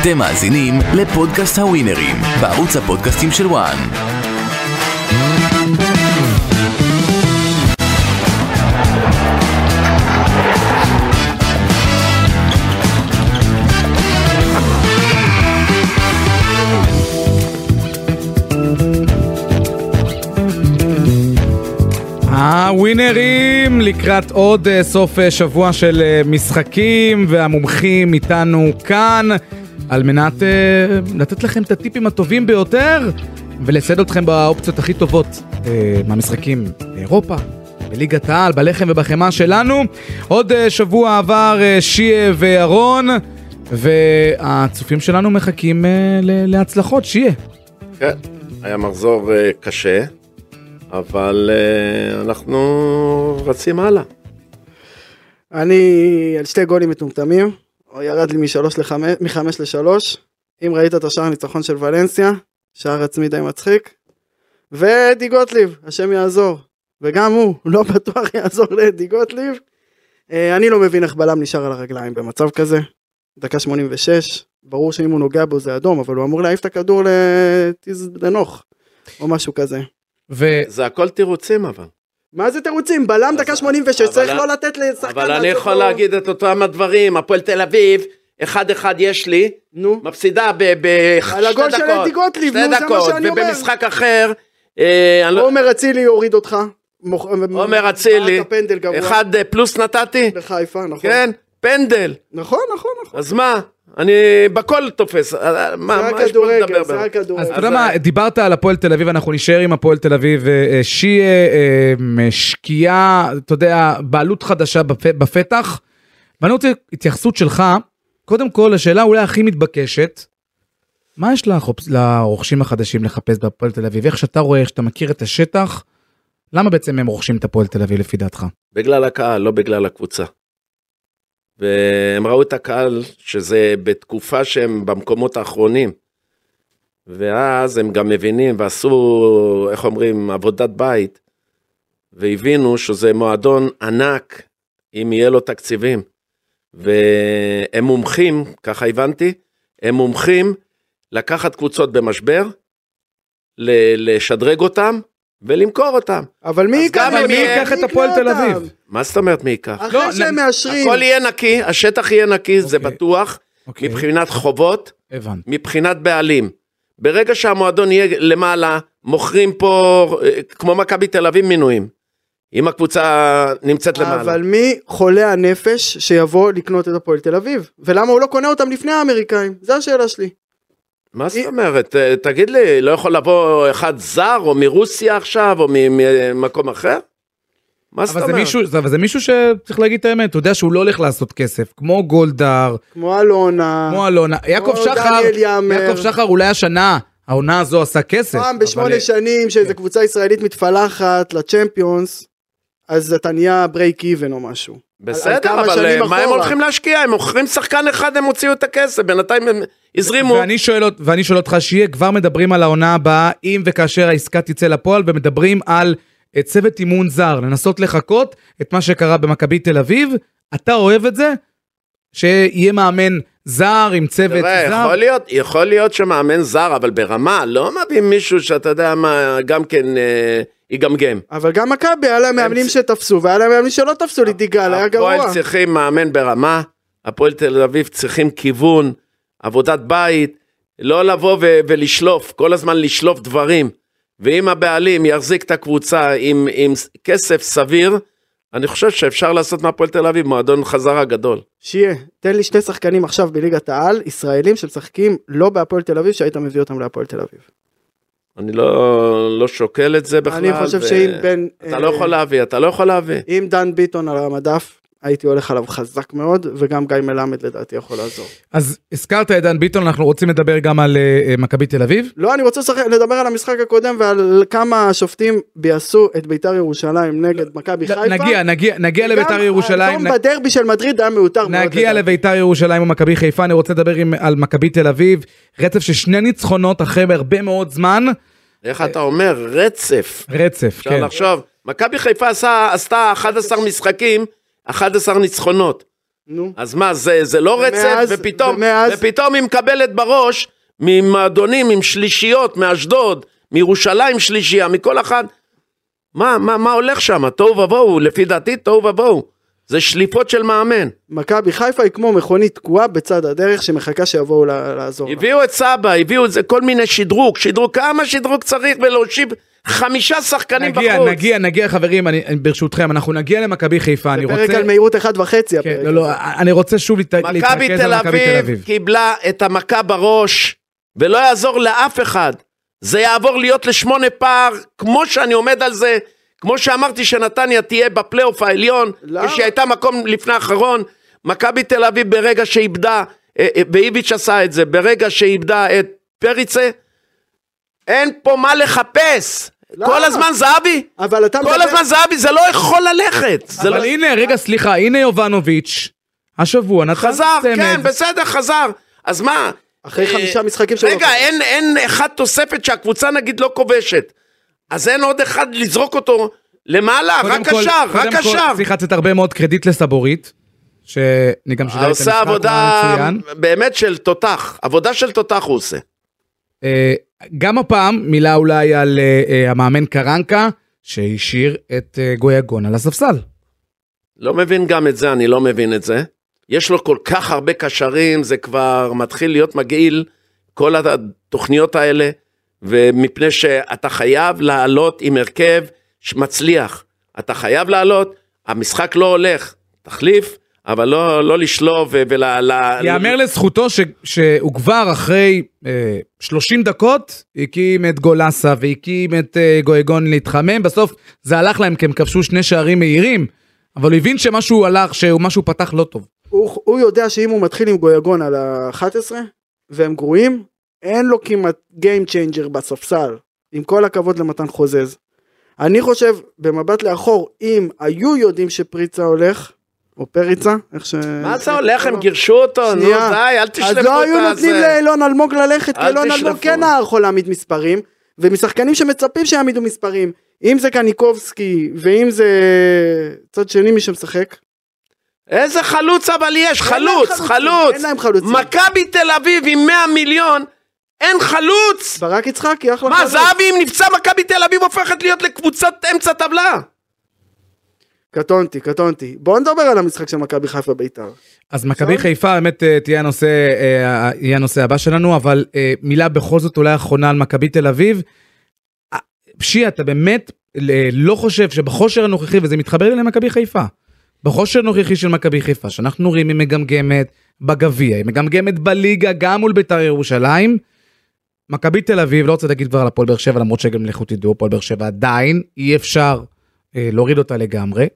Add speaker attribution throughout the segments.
Speaker 1: אתם מאזינים לפודקאסט הווינרים, בערוץ הפודקאסטים של וואן.
Speaker 2: הווינרים לקראת עוד אה, סוף אה, שבוע של אה, משחקים והמומחים איתנו כאן על מנת אה, לתת לכם את הטיפים הטובים ביותר ולצד אתכם באופציות הכי טובות אה, מהמשחקים באירופה, בליגת העל, בלחם ובחמאה שלנו. עוד אה, שבוע עבר אה, שיה וירון והצופים שלנו מחכים אה, ל- להצלחות, שיה.
Speaker 3: כן, היה מחזור אה, קשה, אבל אה, אנחנו רצים הלאה.
Speaker 4: אני על שתי גולים מטומטמים, הוא ירד לי משלוש לחמש, מחמש לשלוש. אם ראית את השער הניצחון של ולנסיה, שער עצמי די מצחיק. ואדי גוטליב, השם יעזור. וגם הוא, לא בטוח יעזור לאדי גוטליב. אה, אני לא מבין איך בלם נשאר על הרגליים במצב כזה. דקה 86, ברור שאם הוא נוגע בו זה אדום, אבל הוא אמור להעיף את הכדור לטיזדנוך, או משהו כזה.
Speaker 2: ו...
Speaker 3: זה הכל תירוצים אבל.
Speaker 4: מה זה תירוצים? בלם
Speaker 3: אז-
Speaker 4: דקה 86,
Speaker 3: אבל
Speaker 4: צריך
Speaker 3: אני-
Speaker 4: לא לתת לשחקן...
Speaker 3: אבל אני
Speaker 4: לעשות
Speaker 3: יכול
Speaker 4: לו-
Speaker 3: להגיד את אותם הדברים, הפועל תל אביב, אחד אחד יש לי,
Speaker 4: נו.
Speaker 3: מפסידה בשתי
Speaker 4: על הגול של אדי
Speaker 3: דקות,
Speaker 4: גוטליב,
Speaker 3: שתי
Speaker 4: נו, זה מה
Speaker 3: דקות,
Speaker 4: שאני אומר.
Speaker 3: ובמשחק אחר, אה, אני לא-
Speaker 4: עומר אצילי הוריד אותך. מוכ-
Speaker 3: עומר אצילי,
Speaker 4: בעט הפנדל גבוה.
Speaker 3: אחד אה, פלוס נתתי,
Speaker 4: בחיפה, נכון.
Speaker 3: כן, פנדל,
Speaker 4: נכון, נכון, נכון.
Speaker 3: אז מה, אני בכל תופס, אה, אה, מה מה
Speaker 4: זה
Speaker 3: יש פה לדבר?
Speaker 4: הכדורגל,
Speaker 3: באמת?
Speaker 4: זה
Speaker 2: אז
Speaker 4: הכדורגל.
Speaker 2: אתה יודע
Speaker 3: אז לא.
Speaker 2: מה,
Speaker 3: ה-
Speaker 2: דיברת על הפועל תל אביב, אנחנו נשאר עם הפועל תל אביב, אה, אה, שיה, אה, אה, שקיעה, אתה יודע, בעלות חדשה בפ- בפתח. ואני רוצה התייחסות שלך, קודם כל, לשאלה אולי הכי מתבקשת, מה יש לחופ- לרוכשים החדשים לחפש בהפועל תל אביב? איך שאתה רואה, איך שאתה מכיר את השטח, למה בעצם הם רוכשים את הפועל תל אביב לפי דעתך?
Speaker 3: בגלל הקהל, לא בגלל הקבוצה. והם ראו את הקהל, שזה בתקופה שהם במקומות האחרונים. ואז הם גם מבינים ועשו, איך אומרים, עבודת בית, והבינו שזה מועדון ענק, אם יהיה לו תקציבים. והם מומחים, ככה הבנתי, הם מומחים לקחת קבוצות במשבר, ל- לשדרג אותם ולמכור אותם.
Speaker 4: אבל מי
Speaker 3: אז
Speaker 4: ייקח
Speaker 3: גם
Speaker 4: אותם?
Speaker 3: מי ייקח
Speaker 2: את הפועל
Speaker 4: יקנה
Speaker 2: תל אביב?
Speaker 4: אותם?
Speaker 3: מה זאת אומרת מי ייקח?
Speaker 2: לא,
Speaker 4: אחרי שהם
Speaker 2: נ-
Speaker 4: מאשרים.
Speaker 3: הכל יהיה נקי, השטח יהיה נקי, זה
Speaker 2: אוקיי.
Speaker 3: בטוח,
Speaker 2: אוקיי,
Speaker 3: מבחינת חובות,
Speaker 2: הבנתי.
Speaker 3: מבחינת בעלים. ברגע שהמועדון יהיה למעלה, מוכרים פה, אה, כמו מכבי תל אביב, מינויים. אם הקבוצה נמצאת למעלה.
Speaker 4: אבל מי חולה הנפש שיבוא לקנות את הפועל תל אביב? ולמה הוא לא קונה אותם לפני האמריקאים? זו השאלה שלי.
Speaker 3: מה זאת אומרת? אה, תגיד לי, לא יכול לבוא אחד זר, או מרוסיה עכשיו, או מ- ממקום אחר? מה זאת
Speaker 2: אבל זה,
Speaker 3: אומרת?
Speaker 2: מישהו, זה- אבל זה מישהו שצריך להגיד את האמת, הוא יודע שהוא לא הולך לעשות כסף, כמו גולדהר,
Speaker 4: כמו אלונה,
Speaker 2: כמו אלונה, יעקב
Speaker 4: כמו
Speaker 2: שחר,
Speaker 4: דניאל יאמר.
Speaker 2: יעקב שחר אולי השנה, העונה הזו עשה כסף.
Speaker 4: פעם
Speaker 2: אבל- כן.
Speaker 4: בשמונה שנים שאיזו קבוצה ישראלית מתפלחת לצ'מפיונס, אז אתה נהיה ברייק איבן או משהו. על
Speaker 3: בסדר,
Speaker 4: כמה
Speaker 3: אבל
Speaker 4: שנים
Speaker 3: אה, מה הם
Speaker 4: אחורה.
Speaker 3: הולכים להשקיע? הם מוכרים שחקן אחד, הם הוציאו את הכסף, בינתיים הם הזרימו.
Speaker 2: ואני שואל, אות- ואני שואל אותך שיהיה, כבר מדברים על העונה הבאה, אם וכאשר העסקה תצא לפועל, ומדברים על אה, צוות אימון זר, לנסות לחקות את מה שקרה במכבי תל אביב, אתה אוהב את זה? שיהיה מאמן זר עם צוות
Speaker 3: תראה,
Speaker 2: זר?
Speaker 3: יכול להיות, יכול להיות שמאמן זר, אבל ברמה, לא מביאים מישהו שאתה יודע מה, גם כן אה, יגמגם.
Speaker 4: אבל גם מכבי היה להם מאמנים
Speaker 3: צ-
Speaker 4: שתפסו והיה להם מאמנים שלא תפסו לי דיגל היה
Speaker 3: הפועל
Speaker 4: גרוע.
Speaker 3: צריכים מאמן ברמה, הפועל תל אביב צריכים כיוון, עבודת בית, לא לבוא ו- ולשלוף, כל הזמן לשלוף דברים. ואם הבעלים יחזיק את הקבוצה עם, עם ס- כסף סביר, אני חושב שאפשר לעשות מהפועל תל אביב מועדון חזרה גדול.
Speaker 4: שיהיה תן לי שני שחקנים עכשיו בליגת העל ישראלים שמשחקים לא בהפועל תל אביב שהיית מביא אותם להפועל תל אביב.
Speaker 3: אני לא, לא שוקל את זה בכלל.
Speaker 4: אני חושב
Speaker 3: ו-
Speaker 4: שאם בן
Speaker 3: אתה
Speaker 4: אה,
Speaker 3: לא יכול להביא, אתה לא יכול להביא.
Speaker 4: אם דן ביטון על המדף הייתי הולך עליו חזק מאוד וגם גיא מלמד לדעתי יכול לעזור.
Speaker 2: אז הזכרת את דן ביטון, אנחנו רוצים לדבר גם על אה, אה, מכבי תל אביב?
Speaker 4: לא אני רוצה לשחק- לדבר על המשחק הקודם ועל כמה השופטים ביאסו את ביתר ירושלים נגד מכבי חיפה.
Speaker 2: נגיע, נגיע, נגיע לביתר
Speaker 4: גם
Speaker 2: ירושלים. נ-
Speaker 4: האדום בדרבי של מדריד היה מיותר
Speaker 3: לא
Speaker 4: מאוד.
Speaker 2: נגיע
Speaker 4: לדעתי.
Speaker 2: לביתר ירושלים ומכבי חיפה, אני רוצה לדבר עם, על מכבי תל אביב, רצף של שני ניצחונות אחרי הרבה מאוד זמן,
Speaker 3: איך אתה אומר? רצף.
Speaker 2: רצף,
Speaker 3: אפשר
Speaker 2: כן.
Speaker 3: לחשוב. מכבי חיפה עשה- עשתה 11 משחקים, 11 ניצחונות.
Speaker 4: נו.
Speaker 3: אז מה, זה, זה לא
Speaker 4: ומאז-
Speaker 3: רצף? ופתאום,
Speaker 4: ומאז-
Speaker 3: ופתאום היא מקבלת בראש ממועדונים, עם שלישיות, מאשדוד, מירושלים שלישייה, מכל אחד. מה, מה, מה הולך שם? תוהו ובוהו, לפי דעתי תוהו ובוהו. זה שליפות של מאמן.
Speaker 4: מכבי חיפה היא כמו מכונית תקועה בצד הדרך שמחכה שיבואו לה- לעזור לה.
Speaker 3: הביאו את סבא, הביאו את זה, כל מיני שדרוג, שדרוג, כמה שדרוג צריך ולהושיב חמישה שחקנים
Speaker 2: נגיע,
Speaker 3: בחוץ.
Speaker 2: נגיע, נגיע, חברים, אני, אני- ברשותכם, אנחנו נגיע למכבי חיפה, אני
Speaker 4: פרק
Speaker 2: רוצה...
Speaker 4: על מהירות אחת וחצי הפרק.
Speaker 2: כן, לא, לא, אני רוצה שוב להת-
Speaker 3: מכבי
Speaker 2: להתרכז
Speaker 3: תל
Speaker 2: על מכבי תל
Speaker 3: אביב
Speaker 2: אביב.
Speaker 3: קיבלה את המכה בראש, ולא יעזור לאף אחד. זה יעבור להיות לשמונה פער, כמו שאני עומד על זה, כמו שאמרתי שנתניה תהיה בפלייאוף העליון,
Speaker 4: למה?
Speaker 3: כשהיא הייתה מקום לפני האחרון. מכבי תל אביב ברגע שאיבדה, אה, אה, ואיביץ' עשה את זה, ברגע שאיבדה את פריצה, אין פה מה לחפש.
Speaker 4: למה?
Speaker 3: כל הזמן זהבי,
Speaker 4: אבל אתה
Speaker 3: כל הזמן זהבי, זה לא יכול ללכת. זה לא-
Speaker 2: אבל הנה, רגע, סליחה, הנה יובנוביץ', השבוע נתן
Speaker 3: חזר,
Speaker 2: צמד.
Speaker 3: כן, בסדר, חזר. אז מה?
Speaker 4: אחרי
Speaker 3: אה,
Speaker 4: חמישה משחקים שלו.
Speaker 3: רגע, אה- אין, אין אחד תוספת שהקבוצה נגיד לא כובשת. אז אין עוד אחד לזרוק אותו למעלה,
Speaker 2: קודם
Speaker 3: רק
Speaker 2: כל-
Speaker 3: השאר,
Speaker 2: קודם
Speaker 3: רק
Speaker 2: כל,
Speaker 3: השאר.
Speaker 2: צריך לצאת הרבה מאוד קרדיט לסבורית, שאני גם שידרתי את המשחק,
Speaker 3: עושה
Speaker 2: הוא
Speaker 3: עבודה
Speaker 2: היה מצוין.
Speaker 3: באמת של תותח, עבודה של תותח הוא עושה.
Speaker 2: אה, גם הפעם מילה אולי על אה, אה, המאמן קרנקה, שהשאיר את אה, גויגון על הספסל.
Speaker 3: לא מבין גם את זה, אני לא מבין את זה. יש לו כל כך הרבה קשרים, זה כבר מתחיל להיות מגעיל, כל התוכניות האלה, ומפני שאתה חייב לעלות עם הרכב שמצליח. אתה חייב לעלות, המשחק לא הולך, תחליף, אבל לא, לא לשלוף ו- ול... ל-
Speaker 2: יאמר לזכותו ש- שהוא כבר אחרי אה, 30 דקות הקים את גולסה והקים את אה, גויגון להתחמם, בסוף זה הלך להם כי הם כבשו שני שערים מהירים, אבל הוא הבין שמשהו הלך, שמשהו פתח לא טוב.
Speaker 4: הוא, הוא יודע שאם הוא מתחיל עם גויגון על ה-11 והם גרועים, אין לו כמעט Game Changer בספסל, עם כל הכבוד למתן חוזז. אני חושב, במבט לאחור, אם היו יודעים שפריצה הולך, או פריצה, איך ש...
Speaker 3: מה זה הולך, הם גירשו אותו, נו די,
Speaker 4: שנייה.
Speaker 3: אל
Speaker 4: אז
Speaker 3: תשלפו
Speaker 4: לא
Speaker 3: את
Speaker 4: היו נותנים
Speaker 3: הזה.
Speaker 4: לאילון אלמוג ללכת, כי
Speaker 3: אל
Speaker 4: אילון
Speaker 3: תשלפו.
Speaker 4: אלמוג כן היה יכול להעמיד מספרים, ומשחקנים שמצפים שיעמידו מספרים, אם זה קניקובסקי, ואם זה צד שני מי שמשחק.
Speaker 3: איזה חלוץ אבל יש,
Speaker 4: אין להם
Speaker 3: חלוץ,
Speaker 4: חלוצים,
Speaker 3: חלוץ.
Speaker 4: אין להם חלוצים.
Speaker 3: מכבי תל אביב עם 100 מיליון, אין חלוץ.
Speaker 4: ברק יצחקי, אחלה
Speaker 3: מה,
Speaker 4: חלוץ.
Speaker 3: זהבי אם נפצע מכבי תל אביב הופכת להיות לקבוצת אמצע טבלה?
Speaker 4: קטונתי, קטונתי. בואו נדבר על המשחק של מכבי חיפה ביתר.
Speaker 2: אז מכבי חיפה באמת אה, תהיה הנושא, אה, יהיה הנושא הבא שלנו, אבל אה, מילה בכל זאת אולי אחרונה על מכבי תל אביב. אה, פשיע, אתה באמת אה, לא חושב שבכושר הנוכחי, וזה מתחבר לי למכבי חיפה, בכושר הנוכחי של מכבי חיפה, שאנחנו רואים היא מגמגמת בגביע, היא מגמגמת בליגה, גם מול בית"ר ירושלים. מכבי תל אביב, לא רוצה להגיד כבר על הפועל באר שבע, למרות שגם לכו תדעו, הפועל באר שבע עדיין אי אפשר אה, להוריד אותה לגמרי.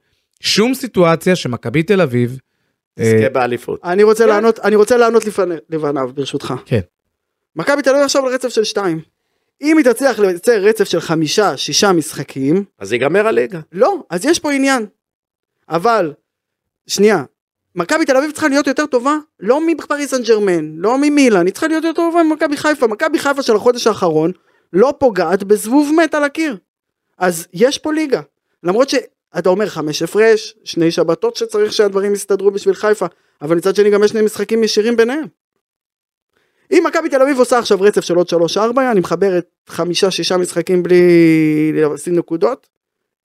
Speaker 2: שום סיטואציה שמכבי תל אביב... אה,
Speaker 3: תזכה באליפות.
Speaker 4: אני רוצה לענות, אני רוצה לענות לפני- לבניו, ברשותך.
Speaker 2: כן.
Speaker 4: מכבי תל אביב עכשיו על רצף של שתיים. אם היא תצליח לייצר רצף של חמישה, שישה משחקים,
Speaker 3: אז ייגמר הליגה.
Speaker 4: לא, אז יש פה עניין. אבל, שנייה, מכבי תל אביב צריכה להיות יותר טובה, לא מפריס סן ג'רמן, לא ממילן, היא צריכה להיות יותר טובה ממכבי חיפה. מכבי חיפה של החודש האחרון לא פוגעת בזבוב מת על הקיר. אז יש פה ליגה. למרות שאתה אומר חמש הפרש, שני שבתות שצריך שהדברים יסתדרו בשביל חיפה, אבל מצד שני גם יש שני משחקים ישירים ביניהם. אם מכבי תל אביב עושה עכשיו רצף של עוד 3-4, אני מחבר את חמישה-שישה משחקים בלי להפסיד נקודות,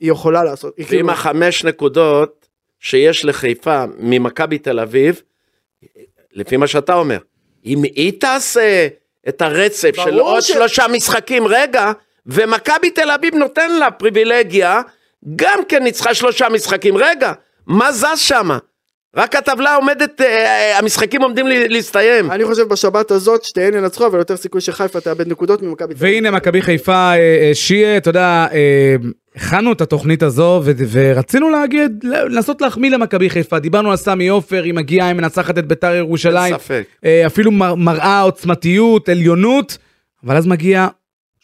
Speaker 4: היא יכולה לעשות. היא כאילו-
Speaker 3: ועם החמש נקודות שיש לחיפה ממכבי תל אביב, לפי מה שאתה אומר, אם היא תעשה את הרצף של
Speaker 4: ברור
Speaker 3: עוד
Speaker 4: ש-
Speaker 3: שלושה משחקים, רגע, ומכבי תל אביב נותן לה פריבילגיה, גם כן ניצחה שלושה משחקים, רגע, מה זז שמה? רק הטבלה עומדת, אה, אה, המשחקים עומדים לה- להסתיים.
Speaker 4: אני חושב בשבת הזאת שתיהן ינצחו אבל יותר סיכוי שחיפה תאבד נקודות ממכבי תל אביב.
Speaker 2: והנה מכבי חיפה אה, אה, שיה, אתה יודע, אה, הכנו את התוכנית הזו ו- ורצינו להגיד, לנסות להחמיא למכבי חיפה. דיברנו על סמי עופר, היא מגיעה, היא מנצחת את ביתר ירושלים.
Speaker 3: אין ספק.
Speaker 2: אה, אפילו מר- מראה עוצמתיות, עליונות, אבל אז מגיע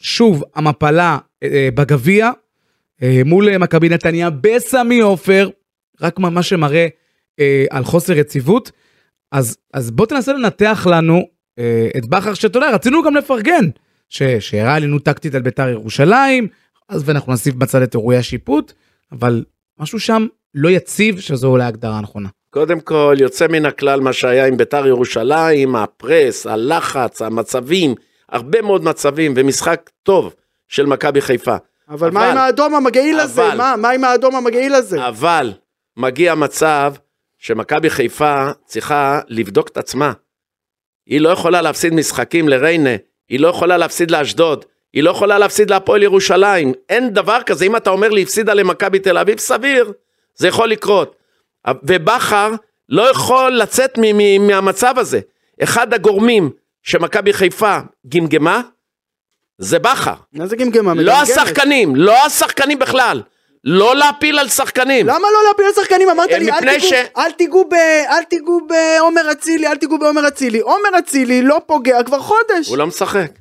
Speaker 2: שוב המפלה אה, אה, בגביע אה, מול אה, מכבי נתניה בסמי עופר, רק מה- מה שמראה אה, על חוסר יציבות. אז, אז בוא תנסה לנתח לנו אה, את בכר, שאתה יודע, רצינו גם לפרגן, ש- שהראה עלינו טקטית על בית"ר ירושלים, אז ואנחנו נשים בצד את אירועי השיפוט, אבל משהו שם לא יציב, שזו אולי ההגדרה הנכונה.
Speaker 3: קודם כל, יוצא מן הכלל מה שהיה עם ביתר ירושלים, הפרס, הלחץ, המצבים, הרבה מאוד מצבים, ומשחק טוב של מכבי חיפה.
Speaker 4: אבל מה
Speaker 3: אבל-
Speaker 4: עם האדום המגעיל הזה?
Speaker 3: אבל-
Speaker 4: מה- מה עם האדום המגעיל הזה?
Speaker 3: אבל מגיע מצב שמכבי חיפה צריכה לבדוק את עצמה. היא לא יכולה להפסיד משחקים לריינה, היא לא יכולה להפסיד לאשדוד, היא לא יכולה להפסיד להפועל ירושלים. אין דבר כזה, אם אתה אומר לי הפסידה למכבי תל אביב, סביר, זה יכול לקרות. ובכר לא יכול לצאת מ- מ- מהמצב הזה. אחד הגורמים שמכבי חיפה גמגמה, זה בכר.
Speaker 4: מה זה גמגמה?
Speaker 3: לא
Speaker 4: מגמגמת.
Speaker 3: השחקנים, לא השחקנים בכלל. לא להפיל על שחקנים.
Speaker 4: למה לא להפיל על שחקנים? אמרת
Speaker 3: אה,
Speaker 4: לי, אל
Speaker 3: מפני
Speaker 4: תיגעו,
Speaker 3: ש-
Speaker 4: אל תיגעו ב... אל תיגעו בעומר אצילי, אל תיגעו בעומר אצילי. עומר אצילי לא פוגע כבר חודש.
Speaker 3: הוא לא משחק.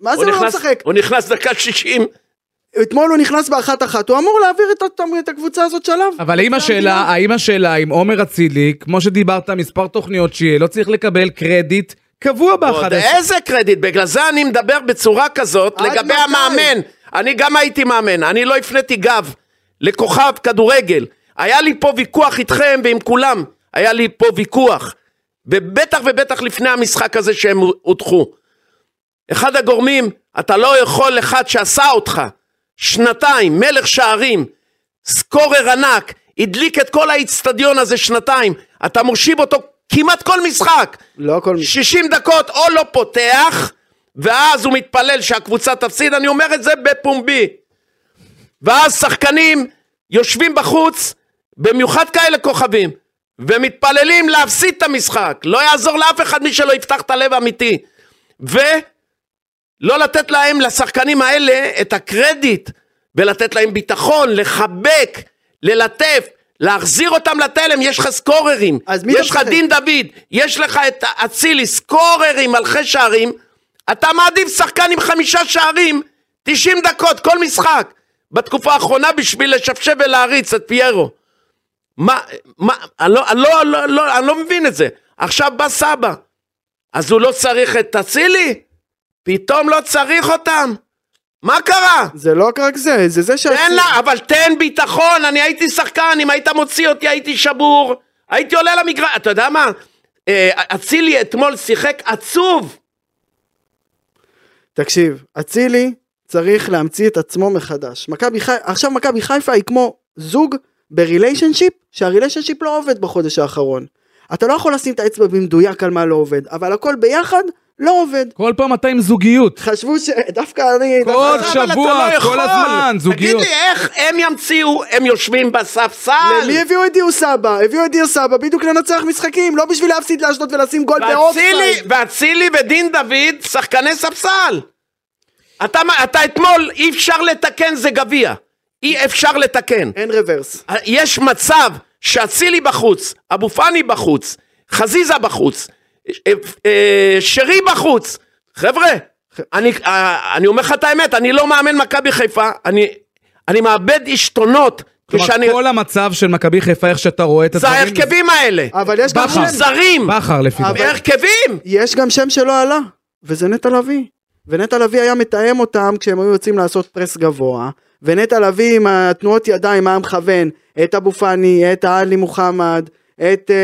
Speaker 4: מה זה
Speaker 3: הוא
Speaker 4: הוא לא
Speaker 3: נכנס-
Speaker 4: משחק?
Speaker 3: הוא נכנס דקה 60.
Speaker 4: אתמול הוא נכנס באחת אחת, הוא אמור להעביר את ה- את הקבוצה הזאת שלב.
Speaker 2: אבל האם השאלה, האם השאלה אם עומר אצילי, כמו שדיברת, מספר תוכניות שיהיה, לא צריך לקבל קרדיט קבוע
Speaker 3: עוד
Speaker 2: באחד עשרה.
Speaker 3: איזה קרדיט, בגלל זה אני מדבר בצורה כזאת
Speaker 4: עד
Speaker 3: לגבי
Speaker 4: מתי?
Speaker 3: המאמן. אני גם הייתי מאמן, אני לא הפניתי גב לכוכב כדורגל. היה לי פה ויכוח איתכם ועם כולם, היה לי פה ויכוח. ובטח ובטח לפני המשחק הזה שהם הודחו. אחד הגורמים, אתה לא יכול אחד שעשה אותך שנתיים, מלך שערים, סקורר ענק, הדליק את כל האיצטדיון הזה שנתיים, אתה מושיב אותו כמעט כל משחק.
Speaker 4: לא כל מי...
Speaker 3: 60 דקות או לא פותח, ואז הוא מתפלל שהקבוצה תפסיד, אני אומר את זה בפומבי. ואז שחקנים יושבים בחוץ, במיוחד כאלה כוכבים, ומתפללים להפסיד את המשחק. לא יעזור לאף אחד מי שלא יפתח את הלב האמיתי. ולא לתת להם, לשחקנים האלה, את הקרדיט, ולתת להם ביטחון, לחבק, ללטף. להחזיר אותם לתלם, יש לך סקוררים,
Speaker 4: אז מי אתה
Speaker 3: יש לך
Speaker 4: משחק?
Speaker 3: דין דוד, יש לך את אצילי, סקוררים, מלכי שערים, אתה מעדיף שחקן עם חמישה שערים, 90 דקות, כל משחק, בתקופה האחרונה בשביל לשפשף ולהריץ את פיירו. מה, מה, אני לא, אני לא, לא, לא, אני לא מבין את זה. עכשיו בא סבא, אז הוא לא צריך את אצילי? פתאום לא צריך אותם? מה קרה?
Speaker 4: זה לא רק זה, זה זה ש...
Speaker 3: תן לה, אבל תן ביטחון, אני הייתי שחקן, אם היית מוציא אותי הייתי שבור, הייתי עולה למגרש, אתה יודע מה? אה, אצילי אתמול שיחק עצוב.
Speaker 4: תקשיב, אצילי צריך להמציא את עצמו מחדש. מכבי חי... עכשיו מכבי חיפה היא כמו זוג בריליישנשיפ, שהריליישנשיפ לא עובד בחודש האחרון. אתה לא יכול לשים את האצבע במדויק על מה לא עובד, אבל הכל ביחד לא עובד.
Speaker 2: כל פעם אתה עם זוגיות.
Speaker 4: חשבו שדווקא אני...
Speaker 2: כל
Speaker 4: דווקא-
Speaker 3: אבל אתה
Speaker 2: שבוע,
Speaker 3: לא
Speaker 2: כל
Speaker 3: יכול.
Speaker 2: הזמן,
Speaker 3: תגיד
Speaker 2: זוגיות.
Speaker 3: לי, איך הם ימציאו, הם יושבים בספסל,
Speaker 4: למי הביאו את דיו סבא? הביאו את דיו סבא בדיוק לנצח משחקים, לא בשביל להפסיד לאשדוד ולשים גול
Speaker 3: ואצילי,
Speaker 4: באופסייד.
Speaker 3: ואצילי ודין דוד, שחקני ספסל. אתה, אתה אתמול, אי אפשר לתקן, זה גביע. אי אפשר לתקן.
Speaker 4: אין רוורס.
Speaker 3: יש מצב שאצילי בחוץ, אבו פאני בחוץ, חזיזה בחוץ, אה, אה, שרי בחוץ. חבר'ה, אני, אה, אני אומר לך את האמת, אני לא מאמן מכבי חיפה, אני, אני מאבד עשתונות כשאני...
Speaker 2: כלומר, כל המצב של מכבי חיפה, איך שאתה רואה את
Speaker 3: זה
Speaker 2: הדברים,
Speaker 3: ההרכבים האלה.
Speaker 4: אבל יש גם
Speaker 2: בכר.
Speaker 4: שם,
Speaker 3: זרים,
Speaker 2: בכר לפי
Speaker 4: אבל-
Speaker 2: דעתי.
Speaker 3: הרכבים.
Speaker 4: יש גם שם שלא עלה, וזה נטע לביא. ונטע לביא היה מתאם אותם כשהם היו יוצאים לעשות פרס גבוה, ונטע לביא עם התנועות ידיים, מה היה מכוון? את אבו פאני, את עלי מוחמד, את... אה,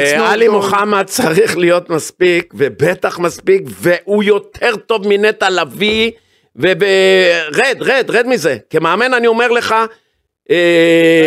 Speaker 3: אה,
Speaker 4: סנואטון.
Speaker 3: עלי מוחמד צריך להיות מספיק, ובטח מספיק, והוא יותר טוב מנטע לביא, ורד, רד, רד מזה. כמאמן אני אומר לך, אה,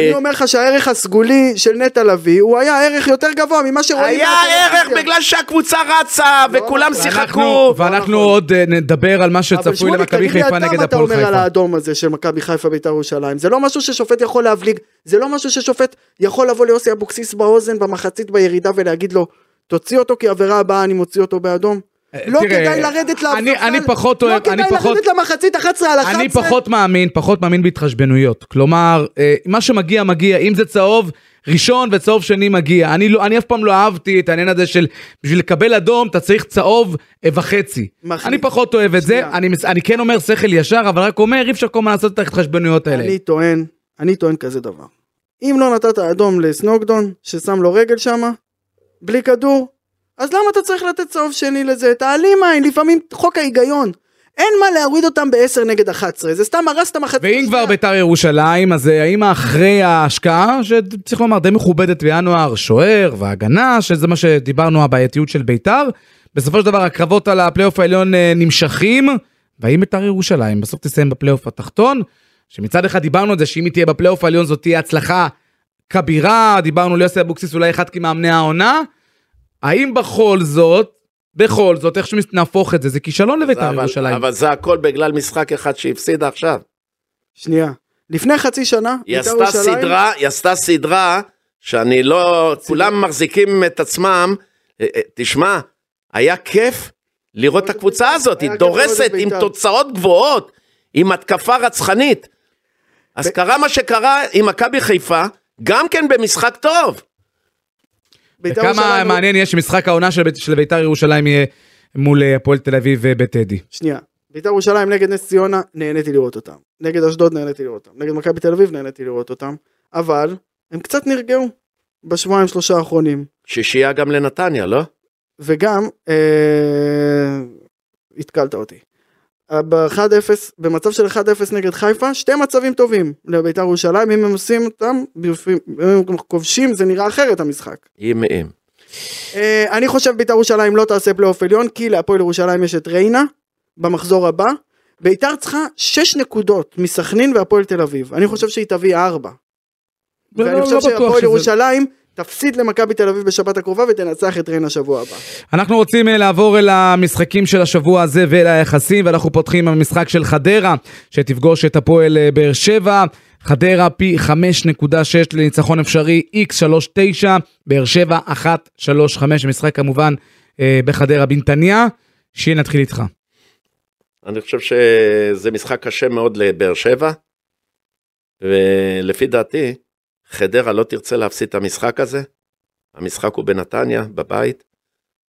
Speaker 4: אני אומר לך שהערך הסגולי של נטע לביא, הוא היה ערך יותר גבוה ממה שרואים.
Speaker 3: היה
Speaker 4: מהטלוויזיה.
Speaker 3: ערך בגלל שהקבוצה רצה, וכולם
Speaker 4: נכון.
Speaker 3: שיחקו.
Speaker 2: לא, ואנחנו עוד אה, נדבר על מה
Speaker 4: אבל
Speaker 2: שצפוי
Speaker 4: שמוליק,
Speaker 2: למכבי
Speaker 4: תגיד לי
Speaker 2: חיפה
Speaker 4: אתה
Speaker 2: נגד
Speaker 4: מה אתה
Speaker 2: הפועל
Speaker 4: אומר על
Speaker 2: חיפה.
Speaker 4: האדום הזה של מכבי חיפה בית"ר ירושלים. זה לא משהו ששופט יכול להבליג, זה לא משהו ששופט יכול לבוא ליוסי אבוקסיס באוזן במחצית בירידה ולהגיד לו, תוציא אותו כי העבירה הבאה אני מוציא אותו באדום. לא
Speaker 2: אה, תראה,
Speaker 4: כדאי לרדת
Speaker 2: אני-
Speaker 4: להפסקה,
Speaker 2: אני פחות אוהב-
Speaker 4: לא
Speaker 2: אני
Speaker 4: כדאי
Speaker 2: פחות-
Speaker 4: לרדת למחצית 11 על 11.
Speaker 2: אני פחות מאמין, פחות מאמין בהתחשבנויות. כלומר, אה, מה שמגיע מגיע, אם זה צהוב ראשון וצהוב שני מגיע. אני, לא, אני אף פעם לא אהבתי את העניין הזה של בשביל לקבל אדום אתה צריך צהוב אה, וחצי.
Speaker 4: מחליט.
Speaker 2: אני פחות אוהב את זה,
Speaker 4: שנייה.
Speaker 2: אני, מס- אני כן אומר שכל ישר, אבל רק אומר אי אפשר כל הזמן לעשות את ההתחשבנויות האלה.
Speaker 4: אני טוען, אני טוען כזה דבר. אם לא נתת אדום לסנוקדון, ששם לו רגל שמה, בלי כדור, אז למה אתה צריך לתת צהוב שני לזה? תעלים עין, לפעמים חוק ההיגיון. אין מה להוריד אותם ב-10 נגד 11, זה סתם הרס את המחצית.
Speaker 2: ואם כבר
Speaker 4: השנייה.
Speaker 2: ביתר ירושלים, אז אה, האם אחרי ההשקעה, שצריך לומר די מכובדת בינואר, שוער והגנה, שזה מה שדיברנו, הבעייתיות של ביתר, בסופו של דבר הקרבות על הפלייאוף העליון אה, נמשכים, והאם ביתר ירושלים בסוף תסיים בפלייאוף התחתון, שמצד אחד דיברנו על זה שאם היא תהיה בפלייאוף העליון זאת תהיה הצלחה כבירה, דיברנו על יוסי אבוקסיס אולי אחד כמאמני העונה, האם בכל זאת, בכל זאת, איך שנהפוך את זה, זה כישלון לביתר
Speaker 3: אבל,
Speaker 2: ירושלים.
Speaker 3: אבל זה הכל בגלל משחק אחד שהפסידה עכשיו.
Speaker 4: שנייה. לפני חצי שנה,
Speaker 3: היא
Speaker 4: בית"ר
Speaker 3: עשתה
Speaker 4: ירושלים-
Speaker 3: סדרה, היא עשתה סדרה שאני לא, כולם מחזיקים את עצמם, אה, אה, תשמע, היה כיף לראות את הקבוצה הזאת, היא
Speaker 4: היה כיף לראות את
Speaker 3: דורסת עם
Speaker 4: בית"ר.
Speaker 3: תוצאות גבוהות, עם התקפה רצחנית. אז קרה מה שקרה עם מכבי חיפה, גם כן במשחק טוב.
Speaker 4: בית"ר
Speaker 2: וכמה
Speaker 4: ירושלים-
Speaker 2: מעניין יהיה שמשחק העונה של, בית- של בית"ר ירושלים יהיה מול אה, הפועל תל אביב אה, בטדי.
Speaker 4: שנייה. בית"ר ירושלים נגד נס ציונה, נהניתי לראות אותם. נגד אשדוד נהניתי לראות אותם. נגד מכבי תל אביב נהניתי לראות אותם. אבל, הם קצת נרגעו בשבועיים שלושה האחרונים.
Speaker 3: שישייה גם לנתניה, לא?
Speaker 4: וגם, אה, התקלת אותי. אה, ב-1-0, במצב של 1-0 נגד חיפה, שתי מצבים טובים לבית"ר ירושלים, אם הם עושים אותם, בפנים- אם הם כובשים, זה נראה אחרת המשחק.
Speaker 3: אם אם.
Speaker 4: אה, אני חושב בית"ר ירושלים לא תעשה פלייאוף עליון, כי להפועל ירושלים יש את ריינה במחזור הבא. בית"ר צריכה 6 נקודות מסכנין והפועל תל אביב. אני חושב שהיא תביא 4.
Speaker 2: לא,
Speaker 4: ואני חושב שהפועל ירושלים תפסיד למכבי תל אביב בשבת הקרובה ותנצח את ריינה שבוע הבא.
Speaker 2: אנחנו רוצים אה, לעבור אל המשחקים של השבוע הזה ואל היחסים, ואנחנו פותחים עם המשחק של חדרה, שתפגוש את הפועל אה, באר שבע. חדרה פי 5.6 לניצחון אפשרי, x39, באר שבע 1.35, משחק כמובן אה, בחדרה בנתניה. שיהיה נתחיל איתך.
Speaker 3: אני חושב שזה משחק קשה מאוד לבאר שבע, ולפי דעתי, חדרה לא תרצה להפסיד את המשחק הזה. המשחק הוא בנתניה, בבית,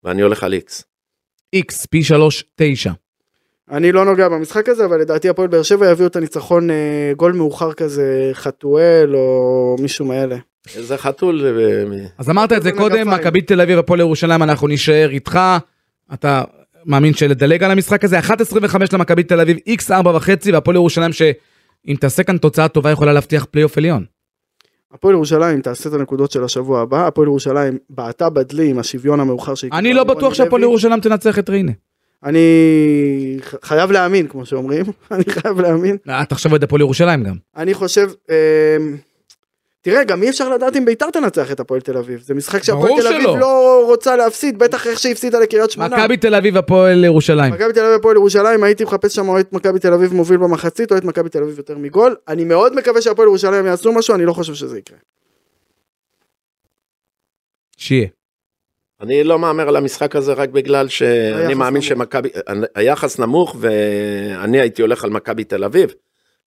Speaker 3: ואני הולך על איקס.
Speaker 2: x פי 3.9.
Speaker 4: אני לא נוגע במשחק הזה, אבל לדעתי הפועל באר שבע יביאו את הניצחון אה, גול מאוחר כזה, חתואל או מישהו מאלה.
Speaker 3: איזה חתול. אה, מ-
Speaker 2: אז אמרת את זה
Speaker 4: בנגפיים.
Speaker 2: קודם, מכבי תל אביב, הפועל ירושלים, אנחנו נישאר איתך. אתה מאמין שלדלג על המשחק הזה? 1.25 למכבי תל אביב, x4.5 והפועל ירושלים שאם תעשה כאן תוצאה טובה יכולה להבטיח פלייאוף עליון.
Speaker 4: הפועל ירושלים תעשה את הנקודות של השבוע הבא, הפועל ירושלים בעטה בדלי עם השוויון המאוחר שהיא
Speaker 2: אני
Speaker 4: קיבלה
Speaker 2: לא
Speaker 4: מרוני
Speaker 2: בטוח שהפועל
Speaker 4: לוי.
Speaker 2: ירושלים תנצח את ריינה.
Speaker 4: אני ח- חייב להאמין, כמו שאומרים, אני חייב להאמין.
Speaker 2: אה, אתה עכשיו אוהד הפועל ירושלים גם.
Speaker 4: אני חושב, אמ, תראה, גם אי אפשר לדעת אם ביתר תנצח את הפועל תל אביב. זה משחק
Speaker 2: ברור
Speaker 4: שהפועל תל אביב
Speaker 2: שלא.
Speaker 4: לא רוצה להפסיד, בטח איך שהפסידה לקריית שמונה.
Speaker 2: מכבי תל אביב, הפועל ירושלים.
Speaker 4: מכבי תל אביב הפועל ירושלים, הייתי מחפש שם או את מכבי תל אביב מוביל במחצית, או את מכבי תל אביב יותר מגול. אני מאוד מקווה שהפועל ירושלים יעשו משהו, אני לא חושב שזה יקרה.
Speaker 2: שיהיה.
Speaker 3: אני לא מהמר על המשחק הזה רק בגלל שאני
Speaker 4: היחס
Speaker 3: מאמין
Speaker 4: נמוך.
Speaker 3: שמכבי, היחס נמוך ואני הייתי הולך על מכבי תל אביב,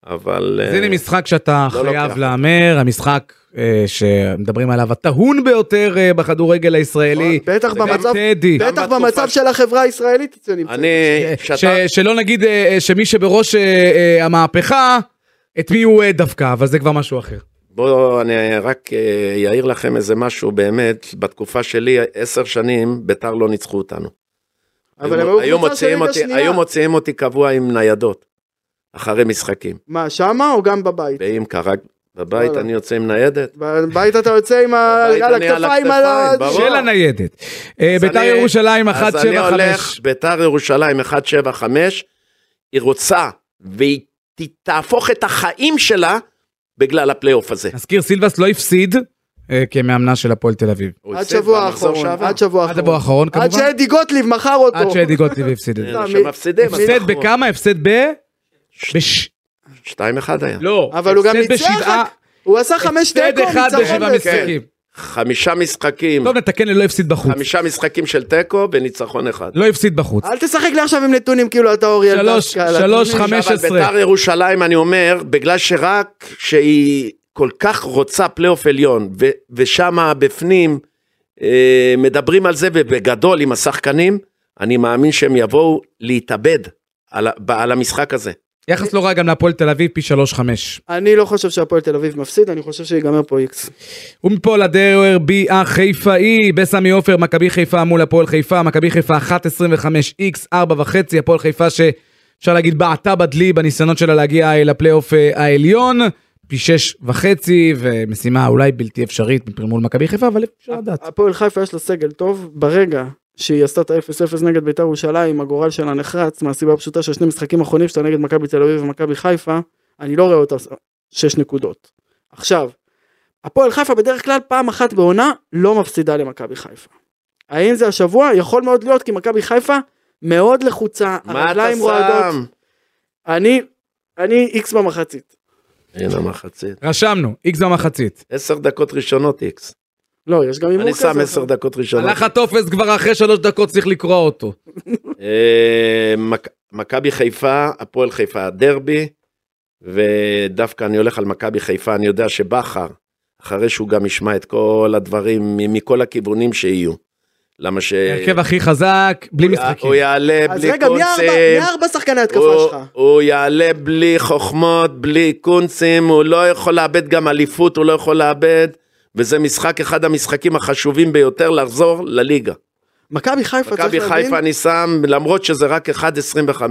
Speaker 3: אבל...
Speaker 2: אז
Speaker 3: אה,
Speaker 2: הנה משחק שאתה
Speaker 3: לא
Speaker 2: חייב
Speaker 3: לוקח.
Speaker 2: להמר, המשחק אה, שמדברים עליו הטהון ביותר אה, בכדורגל הישראלי.
Speaker 4: בטח
Speaker 3: זה גם
Speaker 4: במצב,
Speaker 2: טדי.
Speaker 3: גם
Speaker 4: בטח
Speaker 3: בתקופה
Speaker 4: במצב
Speaker 3: ש-
Speaker 4: של החברה הישראלית זה נמצא.
Speaker 3: אני,
Speaker 2: כן, ש, שלא נגיד אה, אה, שמי שבראש אה, אה, המהפכה, את מי הוא אוהד דווקא, אבל זה כבר משהו אחר.
Speaker 3: בואו אני רק אה, יעיר לכם איזה משהו באמת, בתקופה שלי עשר שנים ביתר לא ניצחו אותנו.
Speaker 4: אבל הם היו קבוצה של
Speaker 3: מוציאים
Speaker 4: ליגה
Speaker 3: אותי,
Speaker 4: שנייה.
Speaker 3: היו מוציאים אותי קבוע עם ניידות, אחרי משחקים.
Speaker 4: מה, שמה או גם בבית?
Speaker 3: ואם קרה בבית
Speaker 4: וואלה.
Speaker 3: אני יוצא עם ניידת.
Speaker 4: בבית אתה יוצא עם ה...
Speaker 3: בבית
Speaker 4: על
Speaker 3: אני על
Speaker 4: הכתפיים, על ה...
Speaker 3: הכתפיים, ברור.
Speaker 2: של הניידת. אה,
Speaker 3: אז
Speaker 2: ביתר
Speaker 3: אני-
Speaker 2: ירושלים
Speaker 3: אז אני
Speaker 2: 175.
Speaker 3: הולך, ביתר ירושלים 175, היא רוצה, והיא ת- תהפוך את החיים שלה בגלל הפלייאוף הזה.
Speaker 2: נזכיר, סילבס לא הפסיד אה, כמאמנה של הפועל תל אביב.
Speaker 3: הוא
Speaker 4: עד
Speaker 3: הפסיד
Speaker 4: שבוע
Speaker 3: במחזור
Speaker 4: האחרון,
Speaker 3: שעבר.
Speaker 4: עד שבוע
Speaker 2: עד הבוא
Speaker 4: האחרון.
Speaker 2: האחרון
Speaker 4: עד
Speaker 2: כמובן.
Speaker 4: שאדי גוטליב מכר אותו.
Speaker 2: עד שאדי גוטליב הפסיד את זה.
Speaker 3: אה, שמפסידים, אז
Speaker 2: הפסד
Speaker 3: אנחנו-
Speaker 2: בכמה? הפסד ב... בש...
Speaker 3: 2-1 היה.
Speaker 2: לא.
Speaker 4: אבל הוא גם
Speaker 2: הפסד
Speaker 4: ניצח
Speaker 2: בשבעה-
Speaker 4: הוא עשה חמש
Speaker 2: הפסד
Speaker 4: תיקו,
Speaker 2: אחד
Speaker 4: ניצחון.
Speaker 2: בשבעה
Speaker 4: ב-
Speaker 2: משחקים.
Speaker 3: חמישה משחקים,
Speaker 2: טוב, נתקן ללא הפסיד בחוץ.
Speaker 3: חמישה משחקים של תיקו וניצחון אחד.
Speaker 2: לא הפסיד בחוץ.
Speaker 4: אל תשחק לי עכשיו עם נתונים כאילו אתה אוריאל.
Speaker 2: שלוש-
Speaker 4: דסקל.
Speaker 2: שלוש,
Speaker 4: אתה-
Speaker 2: חמש.
Speaker 3: אבל
Speaker 2: 15.
Speaker 3: ביתר ירושלים, אני אומר, בגלל שרק שהיא כל כך רוצה פלייאוף עליון, ו- ושמה בפנים אה, מדברים על זה, ובגדול עם השחקנים, אני מאמין שהם יבואו להתאבד על, ה- ב- על המשחק הזה.
Speaker 2: יחס לא רע גם להפועל תל אביב, פי 3-5.
Speaker 4: אני לא חושב שהפועל תל אביב מפסיד, אני חושב שיגמר פה איקס.
Speaker 2: ומפה לדרר בי החיפאי בסמי עופר מכבי חיפה מול הפועל חיפה מכבי חיפה 1.25 x 4.5 הפועל חיפה אפשר להגיד בעטה בדלי בניסיונות שלה להגיע אה, לפלייאוף אה, העליון, פי שש וחצי, ומשימה אולי בלתי אפשרית מפני- מול מכבי חיפה, אבל אפשר לדעת.
Speaker 4: הפועל חיפה יש לה סגל טוב, ברגע שהיא עשתה את ה-0-0 נגד בית"ר ירושלים, הגורל שלה נחרץ, מהסיבה הפשוטה של שני משחקים אחרונים שלה נגד מכבי תל אביב ומכבי חיפה, אני לא רואה אותה עושה שש נקודות. עכשיו, הפועל חיפה בדרך כלל פעם אחת בעונה לא מפסידה למכבי חיפה. האם זה השבוע? יכול מאוד להיות, כי מכבי חיפה מאוד לחוצה,
Speaker 3: מה אתה
Speaker 4: הרגליים
Speaker 3: שם?
Speaker 4: רועדות. אני, אני איקס במחצית.
Speaker 3: הנה המחצית.
Speaker 2: רשמנו, איקס במחצית.
Speaker 3: עשר דקות ראשונות איקס.
Speaker 4: לא, יש גם הימור
Speaker 3: אני
Speaker 4: כזה.
Speaker 3: שם עשר דקות ראשונות.
Speaker 2: הלך הטופס כבר אחרי שלוש דקות צריך לקרוע אותו.
Speaker 3: אה, מק- מכבי חיפה, הפועל חיפה הדרבי, ודווקא אני הולך על מכבי חיפה, אני יודע שבכר, אחרי שהוא גם ישמע את כל הדברים מ- מכל הכיוונים שיהיו. למה ש...
Speaker 2: הרכב הכי חזק, בלי
Speaker 3: אה, הוא
Speaker 2: משחקים.
Speaker 3: הוא יעלה
Speaker 4: אז
Speaker 3: בלי
Speaker 4: רגע, מי הארבע- מי
Speaker 3: קונצים,
Speaker 4: הארבע שחקני התקפה
Speaker 3: הוא-
Speaker 4: שלך?
Speaker 3: הוא יעלה בלי חוכמות, בלי קונצים, הוא לא יכול לאבד גם אליפות, הוא לא יכול לאבד, וזה משחק, אחד המשחקים החשובים ביותר לחזור לליגה.
Speaker 4: מכבי חיפה, צריך
Speaker 3: מכבי
Speaker 4: להבין,
Speaker 3: חיפה אני שם, למרות שזה רק 1.25.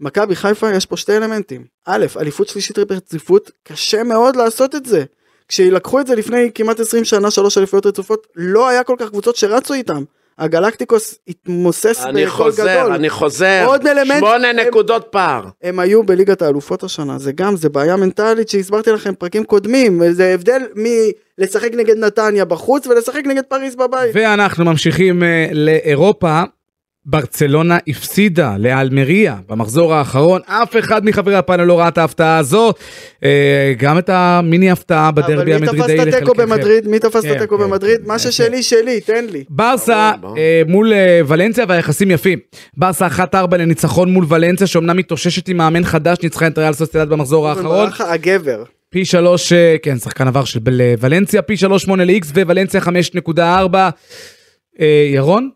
Speaker 4: מכבי חיפה יש פה שתי אלמנטים. א', אליפות שלישית רציפות, קשה מאוד לעשות את זה. כשלקחו את זה לפני כמעט 20 שנה, שלוש אליפויות רצופות, לא היה כל כך קבוצות שרצו איתם. הגלקטיקוס התמוסס
Speaker 3: אני
Speaker 4: בכל
Speaker 3: חוזר,
Speaker 4: גדול.
Speaker 3: אני חוזר.
Speaker 4: עוד אלמנט-
Speaker 3: שמונה נקודות פער.
Speaker 4: הם היו בליגת האלופות השנה, זה גם, זה בעיה מנטלית שהסברתי לכם פרקים קודמים, זה הבדל מלשחק נגד נתניה בחוץ ולשחק נגד פריז בבית.
Speaker 2: ואנחנו ממשיכים אה, לאירופה. ברצלונה הפסידה לאלמריה במחזור האחרון, אף אחד מחברי הפאנל לא ראה את ההפתעה הזו, אה, גם את המיני הפתעה בדרבי
Speaker 4: אבל מי תפס
Speaker 2: המדרידי
Speaker 4: את התיקו במדריד? מי תפס את
Speaker 2: כן,
Speaker 4: התיקו
Speaker 2: כן,
Speaker 4: במדריד?
Speaker 2: כן,
Speaker 4: מה
Speaker 2: כן.
Speaker 4: ששלי שלי, תן לי.
Speaker 2: ברסה
Speaker 3: ברור, ברור.
Speaker 2: אה, מול אה, ולנסיה והיחסים יפים. ברסה 1-4 לניצחון מול ולנסיה שאומנם מתאוששת עם מאמן חדש, ניצחה את ריאל סוסטלד במחזור האחרון.
Speaker 4: ברכה, הגבר.
Speaker 2: פי שלוש, אה, כן, שחקן עבר של בל- ולנסיה, פי שלוש שמונה ל-X וולנסיה 5.4. אה, ירון?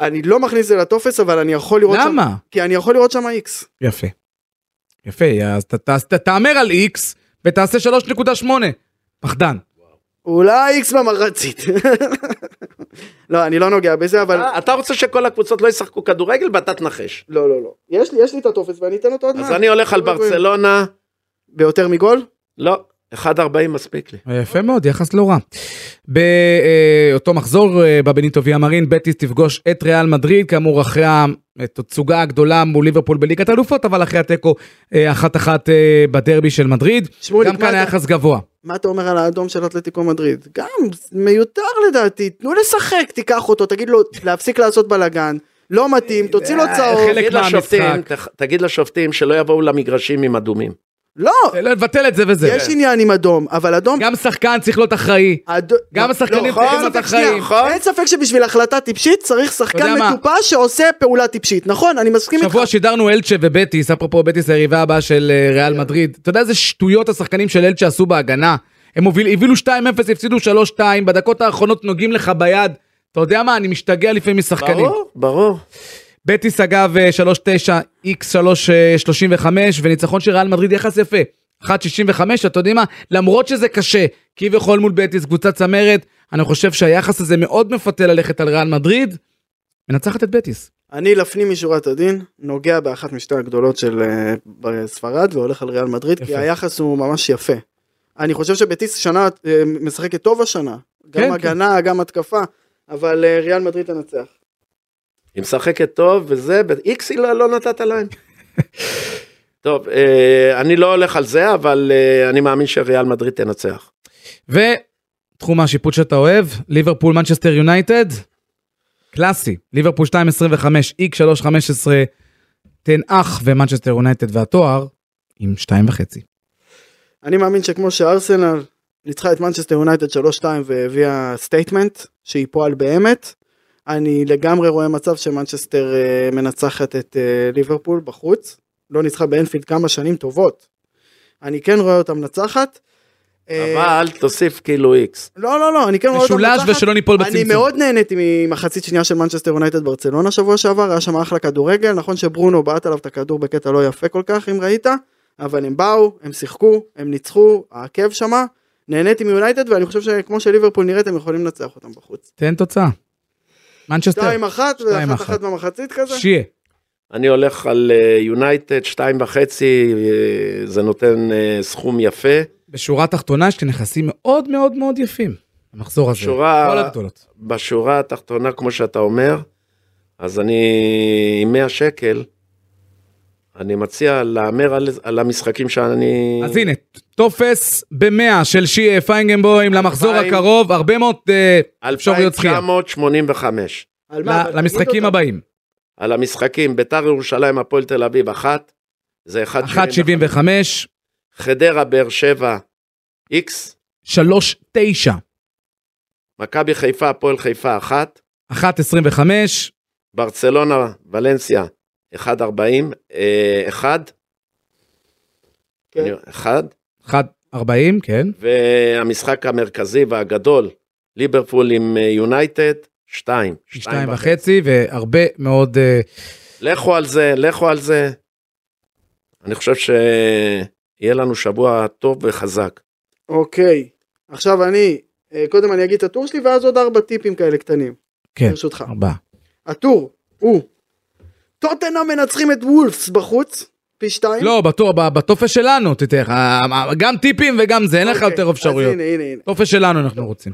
Speaker 4: אני לא מכניס את זה לטופס אבל אני יכול לראות שם,
Speaker 2: למה?
Speaker 4: כי אני יכול לראות שם איקס.
Speaker 2: יפה. יפה, אז ת- ת- ת- תהמר על X ותעשה 3.8. פחדן.
Speaker 4: אולי איקס במחצית. לא אני לא נוגע בזה אבל
Speaker 3: אה, אתה רוצה שכל הקבוצות לא ישחקו כדורגל ואתה תנחש.
Speaker 4: לא לא לא יש לי יש לי את הטופס ואני אתן אותו עוד מעט.
Speaker 3: אז אני הולך
Speaker 4: אוקיי.
Speaker 3: על ברצלונה,
Speaker 4: ביותר מגול?
Speaker 3: לא, 1.40 מספיק לי.
Speaker 2: יפה מאוד, יחס לא רע. באותו מחזור אה, בבניטו ויאמרין, בטיס תפגוש את ריאל מדריד, כאמור אחרי התצוגה הגדולה מול ליברפול בליגת האלופות, אבל אחרי התיקו אה, אחת אחת אה, בדרבי של מדריד.
Speaker 4: שמוליק,
Speaker 2: גם
Speaker 4: מה
Speaker 2: כאן
Speaker 4: אתה-
Speaker 2: היחס גבוה.
Speaker 4: מה אתה אומר על האדום של אתלטיקו מדריד? גם מיותר לדעתי תנו לשחק תיקח אותו תגיד לו להפסיק לעשות בלאגן לא מתאים
Speaker 3: אה,
Speaker 4: תוציא לו צהוב
Speaker 2: חלק
Speaker 3: תגיד
Speaker 2: מהמשחק.
Speaker 3: לשופטים, תח- תגיד לשופטים שלא יבואו למגרשים עם אדומים.
Speaker 4: לא
Speaker 2: אה, לא, לבטל את זה וזה.
Speaker 4: יש עניין עם אדום אבל אדום
Speaker 2: גם שחקן צריך להיות אחראי.
Speaker 4: אד-
Speaker 2: גם השחקנים
Speaker 4: נכון,
Speaker 2: צריכים להיות
Speaker 4: אין ספק, שנייה,
Speaker 2: אחראים.
Speaker 4: נכון. אין ספק שבשביל החלטה טיפשית צריך
Speaker 2: יודע
Speaker 4: שחקן
Speaker 2: מה?
Speaker 4: מטופש שעושה פעולה טיפשית. נכון, אני מסכים איתך.
Speaker 2: שבוע שידרנו אלצ'ה ובטיס, אפרופו בטיס היריבה הבאה של אה, ריאל מדריד. אתה יודע איזה שטויות השחקנים של אלצ'ה עשו בהגנה? הם הוביל- הבילו 2-0, הפסידו 3-2, בדקות האחרונות נוגעים לך ביד. אתה יודע מה, אני משתגע לפעמים משחקנים.
Speaker 3: ברור, ברור.
Speaker 2: בטיס אגב אה, 3-9, איקס 3-35, וניצחון של ריאל מדריד יחס יפה. 1.65, אתה יודעים מה? למרות שזה קשה, כביכול מול בטיס, קבוצה צמרת, אני חושב שהיחס הזה מאוד מפתה ללכת על ריאל מדריד. מנצחת את בטיס.
Speaker 4: אני לפנים משורת הדין, נוגע באחת משתי הגדולות של אה, ב- ספרד והולך על ריאל מדריד, כי
Speaker 2: יפה.
Speaker 4: היחס הוא ממש יפה. אני חושב שבטיס שנה אה, משחקת טוב השנה.
Speaker 2: כן,
Speaker 4: גם הגנה, גם התקפה, אבל אה, ריאל מדריד תנצח.
Speaker 3: היא משחקת טוב וזה, ואיקס היא לא, לא נתת להם. טוב, אה, אני לא הולך על זה, אבל אה, אני מאמין שריאל מדריד תנצח.
Speaker 2: ותחום השיפוט שאתה אוהב, ליברפול מנצ'סטר יונייטד, קלאסי, ליברפול 2.25, איק 3.15, תנאך ומנצ'סטר יונייטד והתואר עם 2.5.
Speaker 4: אני מאמין שכמו שארסנל ניצחה את מנצ'סטר יונייטד 3-2 והביאה סטייטמנט שהיא פועל באמת, אני לגמרי רואה מצב שמנצ'סטר אה, מנצחת את אה, ליברפול בחוץ, לא ניצחה באנפילד כמה שנים טובות. אני כן רואה אותה מנצחת. אה,
Speaker 3: אבל תוסיף כאילו איקס.
Speaker 4: לא לא לא אני כן רואה אותה
Speaker 2: משולש
Speaker 4: מנצחת.
Speaker 2: ושלא ניפול
Speaker 4: אני
Speaker 2: בצמצום.
Speaker 4: מאוד נהניתי ממחצית שנייה של מנצ'סטר יונייטד ברצלונה שבוע שעבר היה שם אחלה כדורגל נכון שברונו בעט עליו את הכדור בקטע לא יפה כל כך אם ראית אבל הם באו הם שיחקו הם ניצחו העקב שמה נהניתי מיונייטד ואני חושב שכמו שליברפול נראית הם יכולים לנצח אותם בחוץ.
Speaker 2: תן תוצאה. מנצ'סטר,
Speaker 4: 2-1 ואחת
Speaker 2: אחת.
Speaker 4: אחת במחצית כזה
Speaker 2: שיהיה.
Speaker 3: אני הולך על אה, יונייטד, שתיים וחצי, אה, זה נותן אה, סכום יפה.
Speaker 2: בשורה התחתונה יש כאן נכסים מאוד מאוד מאוד יפים. המחזור הזה.
Speaker 3: שורה-
Speaker 2: כל הגדולות.
Speaker 3: בשורה התחתונה, כמו שאתה אומר, אז אני עם 100 שקל, אני מציע להמר על, על המשחקים שאני...
Speaker 2: אז הנה, טופס במאה של שי פיינגנבוים למחזור
Speaker 3: אלפיים-
Speaker 2: הקרוב, הרבה מאוד אה, אפשרויות זכייה.
Speaker 3: 2,985.
Speaker 4: על מה?
Speaker 2: ל-
Speaker 4: אבל תגיד
Speaker 2: למשחקים
Speaker 4: אותם.
Speaker 2: הבאים.
Speaker 3: על המשחקים, ביתר ירושלים, הפועל תל אביב, אחת, זה 1.75.
Speaker 2: 1.75,
Speaker 3: חדרה, באר שבע, איקס,
Speaker 2: 3.9,
Speaker 3: מכבי חיפה, הפועל חיפה, אחת,
Speaker 2: 1.25,
Speaker 3: ברצלונה, ולנסיה, 1.40, אה, אחד,
Speaker 4: כן.
Speaker 3: אני- אחד,
Speaker 2: 1.40, כן.
Speaker 3: והמשחק המרכזי והגדול, ליברפול עם אה, יונייטד, שתיים.
Speaker 2: שתיים וחצי והרבה מאוד אה,
Speaker 3: לכו על זה, לכו על זה. אני חושב שיהיה לנו שבוע טוב וחזק.
Speaker 4: אוקיי. עכשיו אני, אה, קודם אני אגיד את הטור שלי ואז עוד ארבע טיפים כאלה קטנים.
Speaker 2: כן.
Speaker 4: ברשותך.
Speaker 2: ארבעה.
Speaker 4: הטור הוא טוטנאם מנצחים את וולפס בחוץ, פי שתיים.
Speaker 2: לא, בטור- ב- בטופס שלנו, תתן לך, אה, גם טיפים וגם זה, אין לך
Speaker 4: אוקיי,
Speaker 2: יותר אפשרויות.
Speaker 4: אז הנה, הנה, הנה.
Speaker 2: טופס שלנו אנחנו רוצים.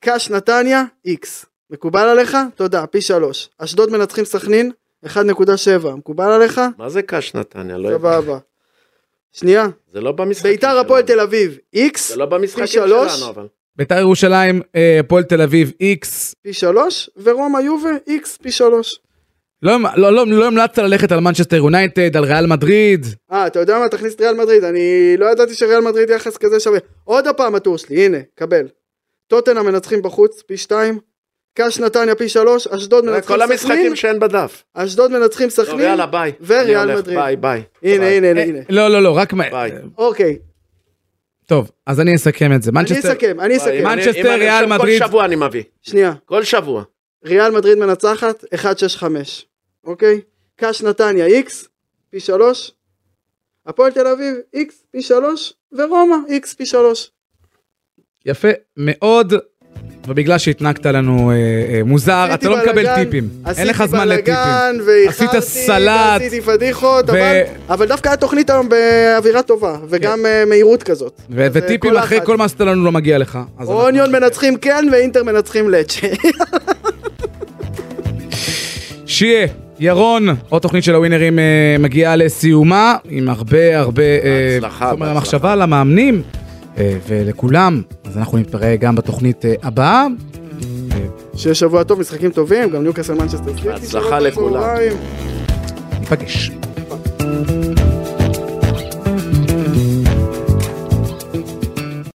Speaker 4: קאש נתניה, איקס. מקובל עליך? תודה, פי שלוש. אשדוד מנצחים סכנין, 1.7. מקובל עליך?
Speaker 3: מה זה קש נתניה? לא יודע.
Speaker 4: סבבה. שנייה,
Speaker 3: זה לא במשחקים
Speaker 4: ביתר הפועל תל אביב, איקס,
Speaker 3: זה לא במשחקים
Speaker 4: פי שלוש.
Speaker 3: שלנו, אבל.
Speaker 2: ביתר ירושלים, אה, הפועל תל אביב, איקס.
Speaker 4: פי שלוש, ורומא יובה, איקס, פי שלוש.
Speaker 2: לא לא- לא- לא המלצת ללכת על מנצ'סטר יונייטד, על ריאל מדריד.
Speaker 4: אה, אתה יודע מה? תכניס את ריאל מדריד, אני לא ידעתי שריאל מדריד יחס כזה שווה. עוד הפעם הטור שלי, הנה, קבל. טוטנה מנצחים בחוץ, פי שתיים. קאש נתניה פי שלוש, אשדוד
Speaker 3: זה
Speaker 4: מנצחים
Speaker 3: כל
Speaker 4: סכנין,
Speaker 3: המשחקים שאין בדף.
Speaker 4: אשדוד מנצחים
Speaker 3: טוב,
Speaker 4: סכנין,
Speaker 3: יאללה, ביי.
Speaker 4: וריאל
Speaker 3: אני הולך,
Speaker 4: מדריד.
Speaker 3: ביי, ביי.
Speaker 4: הנה
Speaker 3: ביי.
Speaker 4: הנה הנה
Speaker 2: אה,
Speaker 4: הנה,
Speaker 2: לא, לא, לא, רק... מה-
Speaker 3: ביי.
Speaker 4: אוקיי,
Speaker 2: טוב, אז אני אסכם את זה.
Speaker 4: אני
Speaker 2: מנצ'סטר... אה,
Speaker 4: אסכם, אני
Speaker 3: ביי.
Speaker 4: אסכם,
Speaker 3: אם אני-
Speaker 2: מנצ'סטר,
Speaker 3: אם אני
Speaker 2: ריאל
Speaker 3: עכשיו-
Speaker 2: מדריד.
Speaker 3: כל שבוע אני מביא.
Speaker 4: שנייה,
Speaker 3: כל שבוע.
Speaker 4: ריאל מדריד מנצחת, 1-6-5, אוקיי? קאש נתניה איקס, פי שלוש, הפועל תל אביב איקס, פי שלוש, ורומא איקס, פי שלוש.
Speaker 2: יפה מאוד. ובגלל שהתנהגת לנו אה, אה, מוזר, אתה לא
Speaker 4: עשיתי
Speaker 2: מקבל
Speaker 4: בלאגן,
Speaker 2: טיפים. אין לך זמן לטיפים.
Speaker 4: עשיתי בלאגן, ואיחרתי,
Speaker 2: עשית סלט.
Speaker 4: ועשיתי פדיחות,
Speaker 2: ו-
Speaker 4: אבל, אבל דווקא התוכנית היום באווירה טובה, וגם אה, מהירות כזאת.
Speaker 2: כן. ו-
Speaker 4: אז, אה,
Speaker 2: וטיפים
Speaker 4: כל
Speaker 2: אחרי
Speaker 4: אחת.
Speaker 2: כל מה שאתה לנו לא מגיע לך. אז אנחנו-
Speaker 4: אוניון מנצחים כן, ואינטר מנצחים לצ'ה.
Speaker 2: שיהיה, ירון, עוד תוכנית של הווינרים אה, מגיעה לסיומה, עם הרבה הרבה... אה,
Speaker 3: בהצלחה,
Speaker 2: חומר
Speaker 3: בהצלחה.
Speaker 2: למחשבה למאמנים אה, ולכולם. אז אנחנו נתפרע גם בתוכנית אה, הבאה.
Speaker 4: שיהיה שבוע טוב, משחקים טובים, גם ניוקאסל מנצ'סטר סיטי.
Speaker 3: בהצלחה
Speaker 4: שבוע טוב,
Speaker 3: לכולם.
Speaker 4: צהריים.
Speaker 2: ניפגש.